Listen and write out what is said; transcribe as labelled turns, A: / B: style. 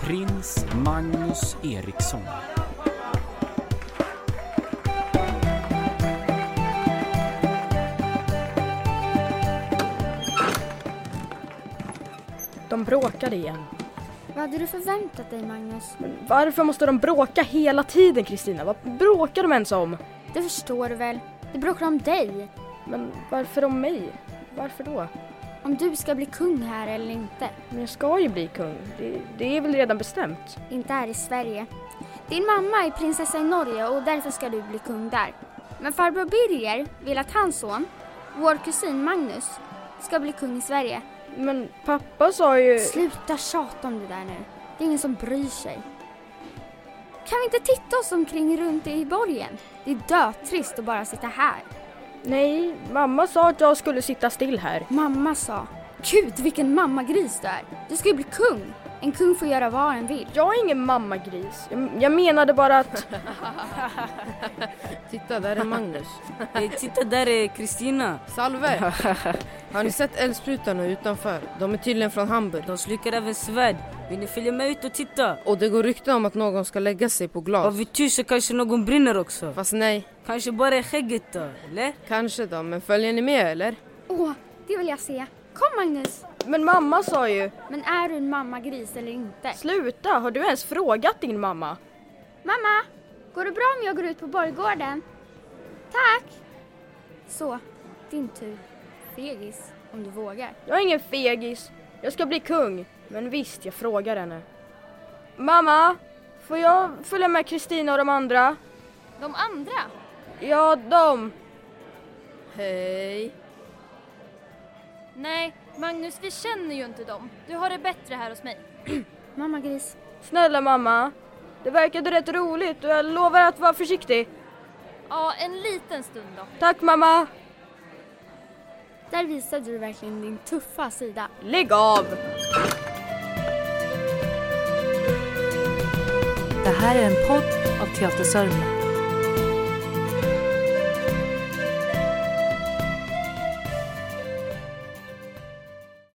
A: Prins Magnus Eriksson.
B: De bråkade igen.
C: Vad hade du förväntat dig Magnus?
B: Men varför måste de bråka hela tiden Kristina? Vad bråkar de ens om?
C: Det förstår du väl? Det bråkar om dig.
B: Men varför om mig? Varför då?
C: Om du ska bli kung här eller inte.
B: Men jag ska ju bli kung. Det, det är väl redan bestämt?
C: Inte här i Sverige. Din mamma är prinsessa i Norge och därför ska du bli kung där. Men farbror Birger vill att hans son, vår kusin Magnus, ska bli kung i Sverige.
B: Men pappa sa ju...
C: Sluta tjata om det där nu. Det är ingen som bryr sig. Kan vi inte titta oss omkring runt i borgen? Det är dötrist att bara sitta här.
B: Nej, mamma sa att jag skulle sitta still här.
C: Mamma sa, Gud vilken mammagris du är. Du ska ju bli kung. En kung får göra vad den vill.
B: Jag är ingen mammagris. Jag, jag menade bara att...
D: Titta, där är Magnus.
E: Eh, titta där är Kristina.
D: Salve! Har ni sett eldsprutarna utanför? De är tydligen från Hamburg.
E: De slukar även svärd. Vill ni följa med ut och titta?
D: Och det går rykten om att någon ska lägga sig på
E: Har
D: glas.
E: vi tur så kanske någon brinner också.
D: Fast nej,
E: Kanske bara är skägget då, eller?
D: kanske då. Men följer ni med eller?
C: Åh, det vill jag se. Kom Magnus!
B: Men mamma sa ju...
C: Men är du en mammagris eller inte?
B: Sluta! Har du ens frågat din mamma?
C: Mamma! Går det bra om jag går ut på borggården? Tack! Så, din tur. Fegis, om du vågar.
B: Jag är ingen fegis. Jag ska bli kung. Men visst, jag frågar henne. Mamma, får jag följa med Kristina och de andra?
C: De andra?
B: Ja, de.
D: Hej.
F: Nej, Magnus, vi känner ju inte dem. Du har det bättre här hos mig.
C: Mammagris.
B: Snälla mamma. Det verkade rätt roligt och jag lovar att vara försiktig.
F: Ja, en liten stund då.
B: Tack mamma.
C: Där visade du verkligen din tuffa sida.
B: Lägg av!
G: Det här är en podd av Teater Sörmland.